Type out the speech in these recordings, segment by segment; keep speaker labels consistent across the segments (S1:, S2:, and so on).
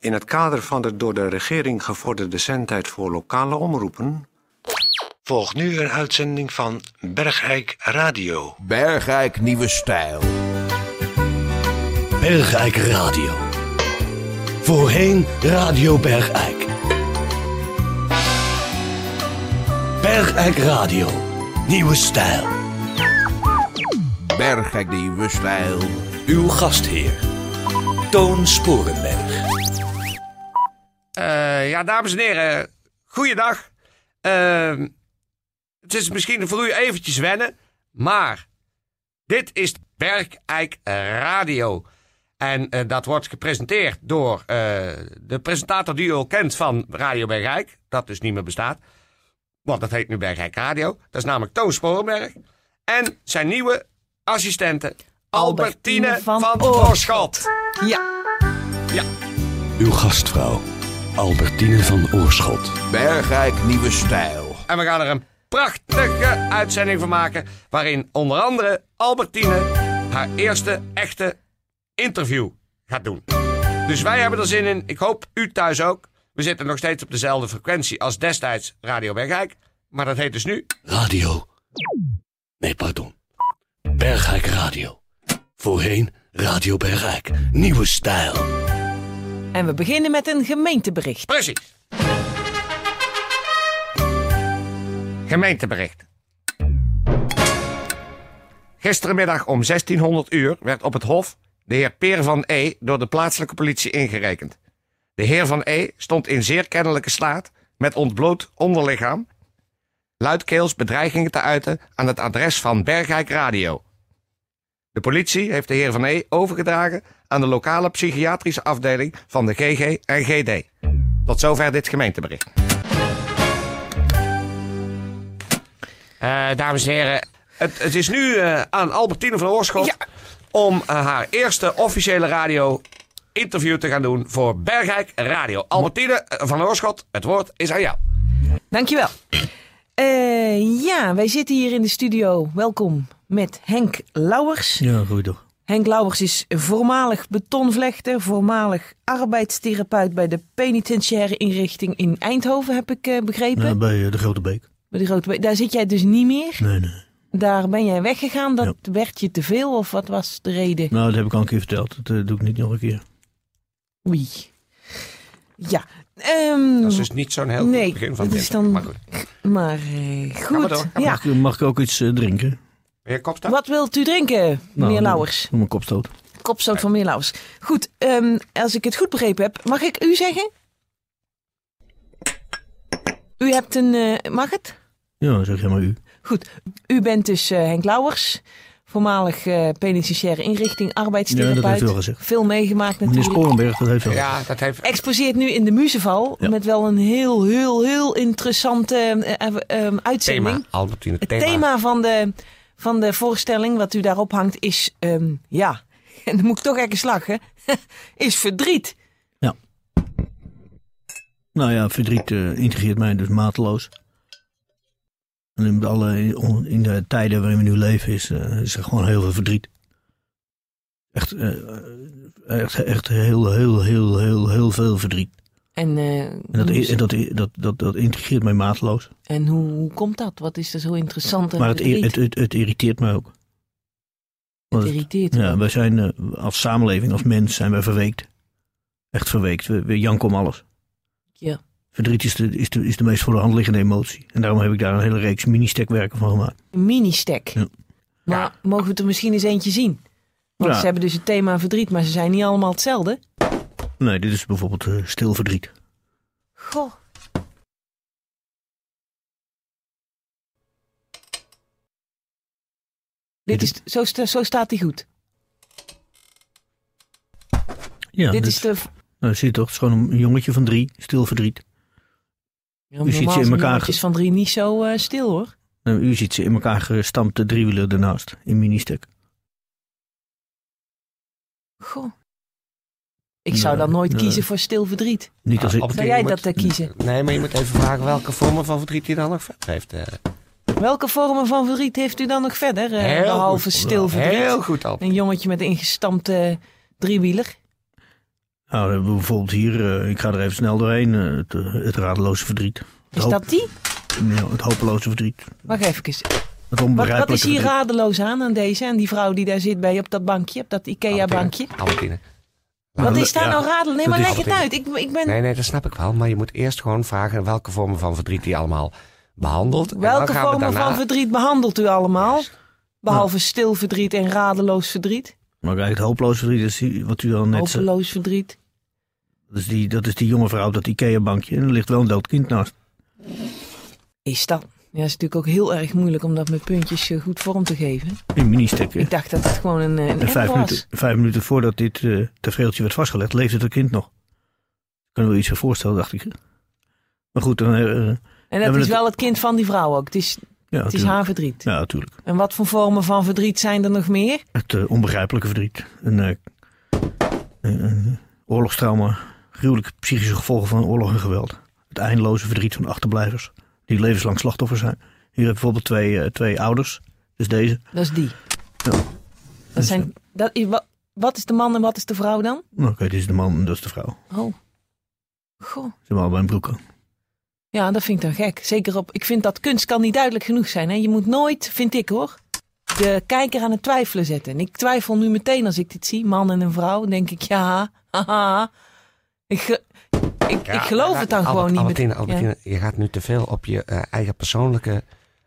S1: In het kader van de door de regering gevorderde zendtijd voor lokale omroepen volgt nu een uitzending van Bergijk Radio.
S2: Bergijk Nieuwe Stijl.
S3: Bergijk Radio. Voorheen Radio Bergijk. Bergijk Radio. Nieuwe stijl.
S2: Bergijk Nieuwe Stijl.
S3: Uw gastheer. Toon Sporenberg.
S4: Eh, ja, dames en heren, goeiedag. Ehm, het is misschien voor u eventjes wennen, maar dit is Bergijk Radio. En eh, dat wordt gepresenteerd door eh, de presentator die u al kent van Radio Bergijk, dat dus niet meer bestaat. Want dat heet nu Bergijk Radio. Dat is namelijk Toon Sporenberg. En zijn nieuwe assistente Albertine, van, Oorschot.
S3: Uw gastvrouw. Albertine van Oorschot.
S2: Bergijk Nieuwe Stijl.
S4: En we gaan er een prachtige uitzending van maken. Waarin onder andere Albertine haar eerste echte interview gaat doen. Dus wij hebben er zin in. Ik hoop u thuis ook. We zitten nog steeds op dezelfde frequentie als destijds Radio Bergijk. Maar dat heet dus nu
S3: Radio. Nee, pardon. Bergijk Radio. Voorheen Radio Bergijk. Nieuwe stijl.
S5: En we beginnen met een gemeentebericht.
S4: precies. Gemeentebericht. Gisterenmiddag om 1600 uur werd op het Hof de heer Peer van E. door de plaatselijke politie ingerekend. De heer van E. stond in zeer kennelijke slaat met ontbloot onderlichaam, luidkeels bedreigingen te uiten aan het adres van Bergijk Radio. De politie heeft de heer van E. overgedragen aan de lokale psychiatrische afdeling van de GG en GD. Tot zover dit gemeentebericht. Eh, dames en heren, het, het is nu eh, aan Albertine van Oorschot om eh, haar eerste officiële radio interview te gaan doen voor Bergijk Radio. Albertine eh, van Oorschot, het woord is aan jou.
S5: Dankjewel. Eh ja, wij zitten hier in de studio. Welkom met Henk Lauwers.
S6: Ja, goed toch.
S5: Henk Lauwers is voormalig betonvlechter, voormalig arbeidstherapeut bij de penitentiaire inrichting in Eindhoven, heb ik eh, begrepen.
S6: Ja, bij eh, de Grote Beek.
S5: Bij de Grote Be- Daar zit jij dus niet meer.
S6: Nee, nee.
S5: Daar ben jij weggegaan. Dat werd je te veel of wat was de reden?
S6: Nou, dat heb ik al een keer verteld. Dat eh, doe ik niet nog een keer.
S5: Oei. Ja. ehm,
S4: Dat is dus niet zo'n heel goed
S5: Nee,
S4: begin van
S5: dat
S4: dit.
S5: is dan-
S4: Maar goed,
S5: Maar eh,
S4: maar
S5: goed.
S4: door, ga maar
S5: ja.
S6: Mag, ik- mag ik ook iets eh, drinken? Nou,
S4: meneer Kopstra?
S5: Wat wilt u
S4: Nou,
S5: drinken, meneer
S6: doe-
S5: Lauwers?
S6: Doe mijn kopstoot.
S5: Kopstoot van meneer Lauwers. Goed, ehm, als ik het goed begrepen heb, mag ik u zeggen? U hebt een. eh, mag het?
S6: Ja, zeg jij maar u.
S5: Goed. U bent dus eh, Henk Lauwers, voormalig eh penitentiaire inrichting, arbeidstherapeut.
S6: Ja, dat heeft u al gezegd.
S5: Veel meegemaakt
S6: Meneer
S5: natuurlijk.
S6: Sporenberg, dat heeft wel.
S4: Ja, dat heeft...
S5: Exposeert nu in de Muzeval
S6: Ja.
S5: met wel een heel, heel, heel interessante eh, eh, eh, uitzending.
S4: Thema, Albertine,
S5: Het thema, van, de, van de voorstelling wat u daarop hangt is, ehm, ja, en dan moet ik toch ergens lachen, is verdriet.
S6: Nou ja, verdriet eh, integreert mij dus mateloos. En in, alle, in de tijden waarin we nu leven is, eh, is er gewoon heel veel verdriet. Echt, eh, echt, echt heel, heel, heel, heel, heel veel verdriet.
S5: En, eh,
S6: En dat,
S5: hoe
S6: i-
S5: is-
S6: en dat, i- dat, dat, dat integreert mij mateloos.
S5: en hoe, hoe komt dat? Wat is er zo interessant aan
S6: Maar het,
S5: verdriet?
S6: het, het, het irriteert mij ook. Want
S5: Het irriteert me.
S6: ja, wij zijn eh, als samenleving, als mens, zijn wij verweekt. Echt verweekt. We, we janken om alles.
S5: Ja.
S6: Verdriet is de, is, de, is de meest voor de hand liggende emotie. En daarom heb ik daar een hele reeks mini-stekwerken van gemaakt.
S5: Een mini-stack.
S6: Ja.
S5: Maar
S4: Ja.
S5: mogen we het er misschien eens eentje zien? Want
S6: Ja.
S5: ze hebben dus het thema verdriet, maar ze zijn niet allemaal hetzelfde.
S6: Nee, dit is bijvoorbeeld eh, stil verdriet.
S5: Goh. Dit is, zo, sta- zo staat hij goed.
S6: Ja,
S5: Dit
S6: dus-
S5: is de.
S6: nou, zie je toch? Het is gewoon een jongetje van drie, stil verdriet.
S5: Ja,
S6: ziet ze
S5: normaal
S6: in
S5: zijn
S6: elkaar
S5: jongetjes
S6: ge-
S5: van drie niet zo eh, stil hoor.
S6: Nou, u ziet ze in elkaar gestampte driewielen ernaast, in mini-stek.
S5: Goh. Ik zou dan nooit
S6: nee.
S5: kiezen voor stil verdriet.
S6: Niet als ik...
S5: Zou jij dat eh, kiezen?
S4: Nee, maar je moet even vragen welke vormen van verdriet hij dan nog verder heeft. eh.
S5: Welke vormen van verdriet heeft u dan nog verder? eh,
S4: Heel
S5: behalve
S4: goed.
S5: stil verdriet.
S4: Heel goed, Albertine.
S5: Een jongetje met een ingestampte driewieler.
S6: Nou, dan hebben we bijvoorbeeld hier, eh, ik ga er even snel doorheen, eh, het, eh, het radeloze verdriet. Het
S5: Is
S6: hoop-
S5: dat die?
S6: Ja, het hopeloze verdriet.
S5: Wacht even.
S6: Het
S5: Wat, wat
S6: onbegrijpelijke
S5: is hier
S6: verdriet.
S5: radeloos aan aan deze en die vrouw die daar zit bij je op dat bankje, op dat IKEA-bankje?
S4: Albertine.
S5: Wat is daar
S6: ja,
S5: nou radeloos? Nee,
S6: dat
S5: maar
S6: is-
S5: leg het uit. Ik, ik ben
S4: Nee, nou, nee, dat snap ik wel. Maar je moet eerst gewoon vragen welke vormen van verdriet die allemaal behandelt. En dan
S5: Welke
S4: gaan we
S5: vormen
S4: daarna-
S5: van verdriet behandelt u allemaal? Behalve stil verdriet en radeloos verdriet.
S6: Maar kijk, het hopeloze verdriet is die- wat u dan net zei.
S5: Hopeloos verdriet.
S6: Dat is, die, dat is die jonge vrouw op dat Ikea-bankje. En er ligt wel een dood kind naast.
S5: Is dat? Ja, is natuurlijk ook heel erg moeilijk om dat met puntjes eh, goed vorm te geven.
S6: In mini-stikken.
S5: Ik dacht dat het gewoon een, eh, een
S6: En
S5: app
S6: vijf
S5: was.
S6: minuten, vijf minuten voordat dit eh tafereeltje werd vastgelegd, leefde het kind nog. Ik kan me wel iets voor voorstellen, dacht ik. Maar goed, dan... eh, eh,
S5: En dat
S6: Hebben
S5: is
S6: het-
S5: wel het kind van die vrouw ook. Het is,
S6: ja,
S5: het is
S6: tuurlijk.
S5: haar verdriet.
S6: Ja, natuurlijk.
S5: En wat voor vormen van verdriet zijn er nog meer?
S6: Het eh, onbegrijpelijke verdriet. Een eh, eh, eh, oorlogstrauma. Gruwelijke psychische gevolgen van oorlog en geweld. Het eindeloze verdriet van achterblijvers. Die levenslang slachtoffer zijn. Hier heb je bijvoorbeeld twee, eh, twee ouders. Dus deze.
S5: Dat is die. Dat zijn, dat is, wa- wat is de man en wat is de vrouw dan?
S6: Nou, Oké, dit is de man en dat is de vrouw.
S5: Oh. Goh.
S6: Ze hebben allebei een broek aan.
S5: Ja, dat vind ik dan gek. Zeker op. Ik vind dat kunst kan niet duidelijk genoeg zijn. Hè? Je moet nooit, vind ik hoor, de kijker aan het twijfelen zetten. En ik twijfel nu meteen als ik dit zie, man en een vrouw, denk ik ja, haha. Ik, ge- ik, ik
S4: Ja,
S5: geloof
S4: maar-
S5: het dan
S4: Albert-
S5: gewoon niet
S4: Albertine,
S5: met-
S4: Albertine, je gaat nu te veel op je eh, eigen persoonlijke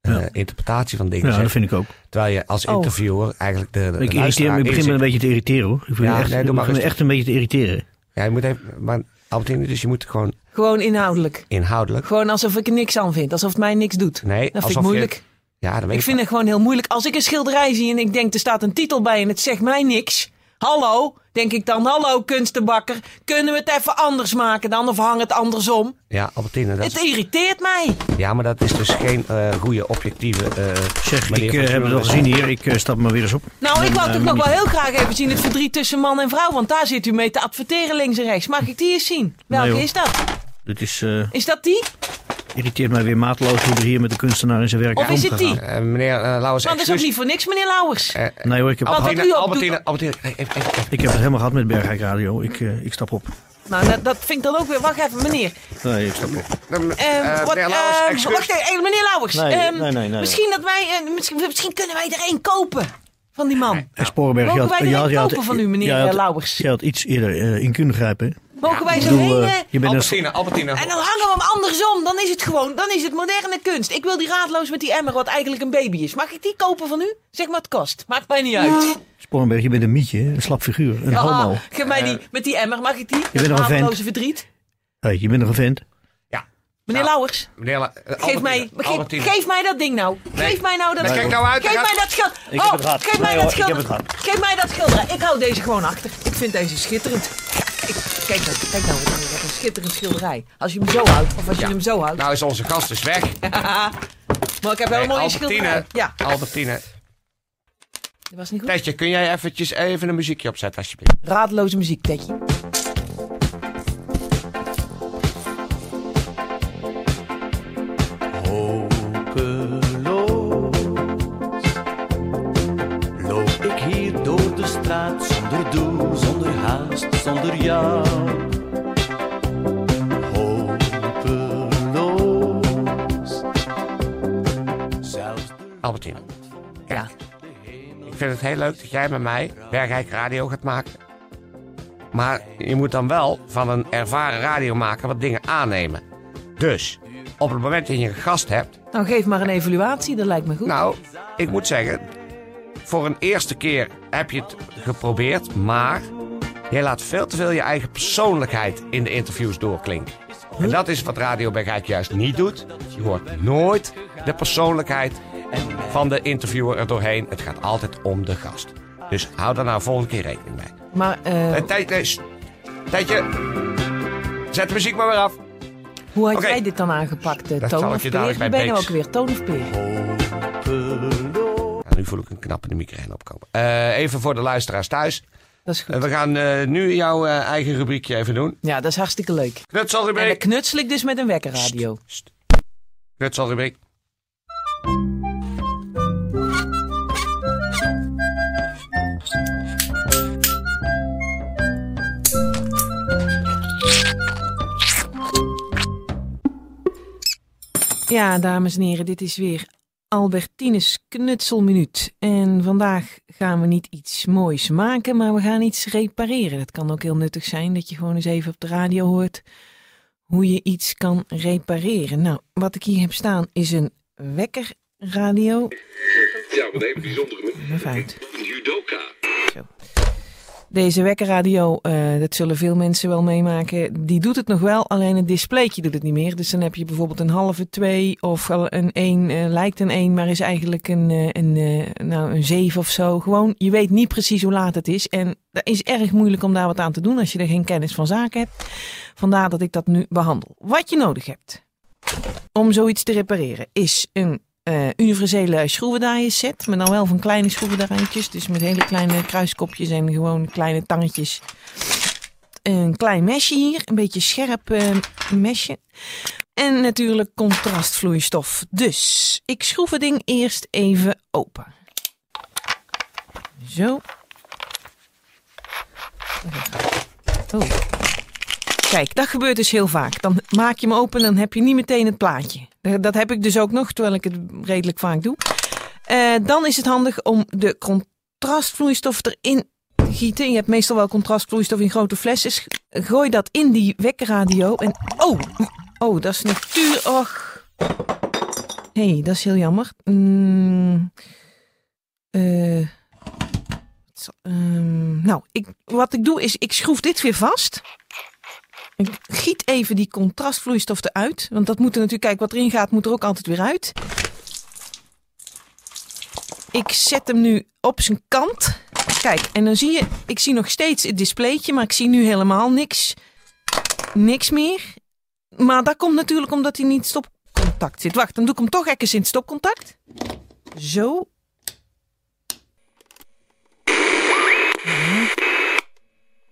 S4: eh, interpretatie van dingen
S6: Ja, dat
S4: zetten.
S6: vind ik ook.
S4: Terwijl je als
S5: Oh.
S4: interviewer eigenlijk de, de
S6: Ik, irriteer,
S4: luisteraar
S6: me- ik begin me een
S4: inzicht-
S6: beetje te irriteren hoor. Ik begin
S4: Ja,
S6: echt,
S4: nee, doe
S6: ik
S4: maar
S6: begin me
S4: rustig.
S6: echt een beetje te irriteren.
S4: Ja, je moet even... Maar Albertine, dus je moet gewoon
S5: Ja. Gewoon inhoudelijk.
S4: inhoudelijk...
S5: Gewoon alsof ik er niks aan vind. Alsof het mij niks doet.
S4: Nee,
S5: dat vind
S4: alsof
S5: ik
S4: je-
S5: moeilijk.
S4: Ja, dat weet
S5: Ik vind het gewoon heel moeilijk. Als ik een schilderij zie en ik denk, er staat een titel bij en het zegt mij niks. Hallo, denk ik dan. Hallo, kunstenbakker. Kunnen we het even anders maken dan? Of hang het andersom?
S4: Ja, Albertine, dat
S5: Het
S4: is,
S5: irriteert mij.
S4: ja, maar dat is dus geen eh goede objectieve... eh,
S6: Zeg,
S4: manier
S6: ik
S4: van
S6: eh, heb het al
S4: journalistiek.
S6: gezien hier. Ik eh, stap maar weer eens op.
S5: Nou, ik wou
S6: eh,
S5: toch nog
S6: niet.
S5: wel heel graag even zien het verdriet tussen man en vrouw. Want daar zit u mee te adverteren links en rechts. Mag ik die eens zien? Welke
S6: hoor.
S5: is dat?
S6: Dit is, eh,
S5: Is dat die?
S6: irriteert mij weer maatloos hoe er hier met de kunstenaar in zijn werk
S5: Of is het
S6: omgegaan.
S5: die?
S4: Eh, meneer eh Lauwers,
S5: Want dat is
S4: excuus.
S5: ook
S4: Eh.
S5: niet voor niks, meneer Lauwers.
S6: Nee hoor, ik heb,
S5: Wat
S4: Albertine,
S5: u op doet-
S4: Albertine, Albertine, nee, even- even- even.
S6: ik heb het helemaal gehad met Bergrijk Radio. Ik, eh, ik stap op.
S5: Nou, dat, dat vind ik dan ook weer. Wacht even, meneer.
S6: Nee, ik stap op.
S5: Ehm,
S4: Eh,
S5: wat-
S4: meneer Lauwers,
S5: ehm,
S4: excuus.
S5: wacht even, meneer Lauwers.
S6: Nee,
S5: ehm,
S6: nee, nee, nee.
S5: misschien, dat wij, eh, misschien, misschien kunnen wij er één kopen van die man.
S6: En Sporenberg,
S5: Mogen
S6: je had,
S5: wij
S6: je
S5: er
S6: had,
S5: een
S6: je had,
S5: kopen van u, meneer,
S6: je had-
S5: eh, Lauwers?
S6: Je had iets eerder eh, in kunnen grijpen. hè? Ik
S5: Mogen wij zo heen?
S6: bedoel, eh,
S5: eh,
S6: je bent een...
S4: Albertine, Albertine.
S5: en dan hangen we hem andersom. Dan is het gewoon, dan is het moderne kunst. Ik wil die raadloos met die emmer, wat eigenlijk een baby is. Mag ik die kopen van u? Zeg maar het kost. Maakt mij niet uit.
S6: Sporenberg, je bent een mietje, hè? een slap figuur. Een
S5: Ah,
S6: homo.
S5: geef mij
S4: Eh.
S5: die, met die emmer, mag ik die?
S6: bent
S5: Dat
S6: nog een vent.
S5: radeloze verdriet.
S6: Hey, je bent nog een vent.
S4: Ja,
S5: Meneer
S4: Ja.
S5: Lauwers,
S4: meneer La- eh,
S5: geef
S4: Albertine,
S5: mij, geef,
S4: Albertine.
S5: geef mij dat ding nou. Geef mij nou dat
S4: Nee, kijk nou uit,
S5: Geef
S4: hij
S5: mij
S4: gaat-
S5: dat geld.
S6: heb het gehad.
S5: Geef mij
S6: Nee,
S5: dat
S6: hoor, ik heb
S5: schilder.
S6: het gehad.
S5: Geef mij dat schilderij. Ik hou deze gewoon achter. Ik vind deze schitterend. Ik, kijk nou, kijk nou, wat een- wat een schitterend schilderij. Als je hem zo houdt, of als je
S4: Ja.
S5: hem zo houdt.
S4: Nou is onze gast dus weg.
S5: maar ik heb helemaal geen schilderij.
S4: Albertine,
S5: Ja,
S4: Albertine.
S5: dat was niet goed.
S4: Tetje, kun jij eventjes even een muziekje opzetten alsjeblieft?
S5: Raadloze muziek, Tedje.
S7: Hopeloos loop ik hier door de straat zonder doel, zonder haast, zonder jou. Hopeloos, zelfs de
S4: Albertine.
S5: Ja.
S4: Ik vind het heel leuk dat jij met mij Bergrijk Radio gaat maken. Maar je moet dan wel van een ervaren radiomaker wat dingen aannemen. Dus, op het moment dat je een gast hebt...
S5: Nou, geef maar een evaluatie, dat lijkt me goed.
S4: Nou, ik moet zeggen... Voor een eerste keer heb je het geprobeerd, maar... Jij laat veel te veel je eigen persoonlijkheid in de interviews doorklinken. En dat is wat Radio Bergrijk juist niet doet. Je hoort nooit de persoonlijkheid van de interviewer er doorheen. Het gaat altijd om de gast. Dus hou daar nou volgende keer rekening mee.
S5: maar eh,
S4: Eh, Tijd, eh, s- tijdje. Zet de muziek maar weer af.
S5: hoe had
S4: oké.
S5: jij dit dan aangepakt, eh,
S4: Dat zal
S5: Toon
S4: ik
S5: of
S4: je
S5: Peer?
S4: dadelijk
S5: Wie
S4: bij
S5: ben je ook
S4: Beeks.
S5: weer, Toon of Peer?
S4: Ja, nu voel ik een knappende migraine opkomen. Eh, even voor de luisteraars thuis.
S5: Dat is goed.
S4: Eh, we gaan eh, nu jouw eh, eigen rubriekje even doen.
S5: Ja, dat is hartstikke leuk. En dan
S4: Knutselrubriek.
S5: knutsel ik dus met een wekkerradio.
S4: Knutselrubriek.
S5: Ja, dames en heren, dit is weer Albertines knutselminuut. En vandaag gaan we niet iets moois maken, maar we gaan iets repareren. Dat kan ook heel nuttig zijn, dat je gewoon eens even op de radio hoort hoe je iets kan repareren. Nou, wat ik hier heb staan is een wekkerradio.
S8: Ja, wat een hele bijzondere.
S5: Nummer uit.
S8: Judoka.
S5: Deze wekkerradio, eh, dat zullen veel mensen wel meemaken, die doet het nog wel, alleen het displaytje doet het niet meer. Dus dan heb je bijvoorbeeld een halve twee of wel een één, eh, lijkt een één, maar is eigenlijk een, eh, een, eh, nou, een zeven of zo. Gewoon, je weet niet precies hoe laat het is en dat is erg moeilijk om daar wat aan te doen als je er geen kennis van zaken hebt. Vandaar dat ik dat nu behandel. Wat je nodig hebt om zoiets te repareren is een eh, universele schroevendraaier set. Maar dan wel van kleine schroevendraaiertjes. Dus met hele kleine kruiskopjes en gewoon kleine tangetjes. Een klein mesje hier. Een beetje scherp eh, mesje. En natuurlijk contrastvloeistof. Dus ik schroef het ding eerst even open. Zo. Oh. Kijk, dat gebeurt dus heel vaak. Dan maak je hem open en dan heb je niet meteen het plaatje. Dat- Dat heb ik dus ook nog, terwijl ik het redelijk vaak doe. Eh, dan is het handig om de contrastvloeistof erin te gieten. Je hebt meestal wel contrastvloeistof in grote flessen. Sch- Gooi dat in die wekkerradio en... Oh, oh dat is natuur... Och. Hé, hey, dat is heel jammer. Mm, eh, zo, ehm, nou, ik, wat ik doe is, ik schroef dit weer vast. Ik giet even die contrastvloeistof eruit. Want dat moet er natuurlijk, kijk, wat erin gaat, moet er ook altijd weer uit. Ik zet hem nu op zijn kant. Kijk, en dan zie je, ik zie nog steeds het displaytje, maar ik zie nu helemaal niks. Niks meer. Maar dat komt natuurlijk omdat hij niet in stopcontact zit. Wacht, dan doe ik hem toch even in het stopcontact. Zo.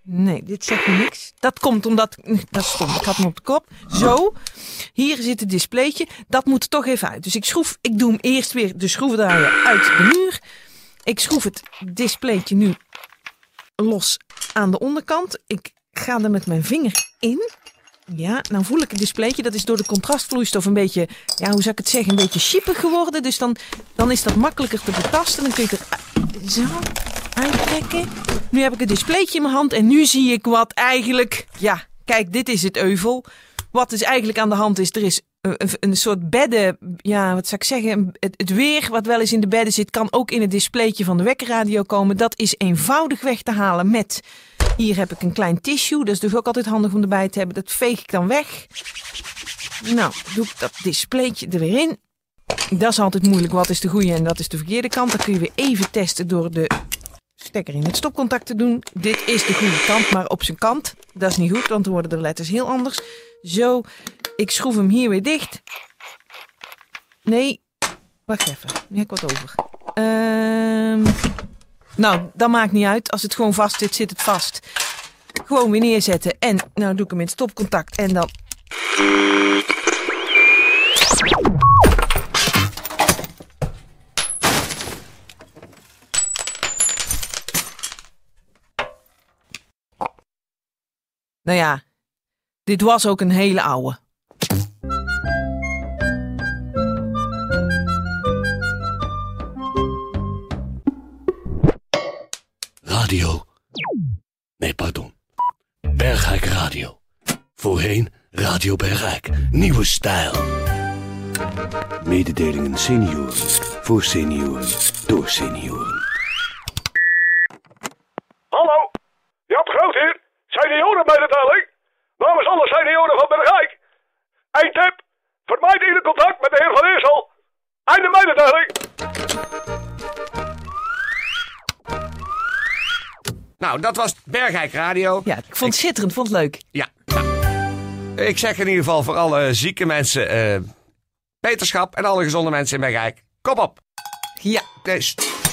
S5: Nee, dit zegt me niks. Dat komt omdat... Dat is stom. Ik had hem op de kop. Zo. Hier zit het displaytje. Dat moet er toch even uit. Dus ik schroef... Ik doe hem eerst weer de schroevendraaier uit de muur. Ik schroef het displaytje nu los aan de onderkant. Ik ga er met mijn vinger in. Ja, nou voel ik het displaytje. Dat is door de contrastvloeistof een beetje... Ja, hoe zou ik het zeggen? Een beetje chippig geworden. Dus dan, dan is dat makkelijker te betasten. Dan kun je het er zo uittrekken. Nu heb ik het displaytje in mijn hand en nu zie ik wat eigenlijk... Ja, kijk, dit is het euvel. Wat dus eigenlijk aan de hand is, er is een, een- een soort bedden... Ja, wat zou ik zeggen? Het, het weer wat wel eens in de bedden zit... kan ook in het displaytje van de wekkerradio komen. Dat is eenvoudig weg te halen met... Hier heb ik een klein tissue, dat is dus ook altijd handig om erbij te hebben. Dat veeg ik dan weg. Nou, doe ik dat displaytje er weer in. Dat is altijd moeilijk. Wat is de goede en wat is de verkeerde kant? Dat kun je weer even testen door de stekker in het stopcontact te doen. Dit is de goede kant, maar op zijn kant. Dat is niet goed, want dan worden de letters heel anders. Zo, ik schroef hem hier weer dicht. Nee, wacht even. Nu heb ik wat over. Ehm, nou, dat maakt niet uit. Als het gewoon vast zit, zit het vast. Gewoon weer neerzetten. En nou doe ik hem in het stopcontact en dan... Nou ja, dit was ook een hele oude.
S3: Radio. Nee, pardon. Bergrijk Radio. Voorheen Radio Bergrijk. Nieuwe stijl. Mededelingen senioren. Voor senioren. Door senioren.
S9: Hallo, Jap Groot hier. Senioren bij de telling. Namens alle senioren van Bergijk. Eén tip. Vermijd ieder contact met de heer Van Eersel. Einde mededeling.
S4: Nou, dat was Bergijk Radio.
S5: Ja, ik vond het schitterend, vond het leuk.
S4: Ja. nou, Ik zeg in ieder geval voor alle zieke mensen, eh, beterschap en alle gezonde mensen in Bergrijk. Kom op.
S5: Ja,
S4: Het is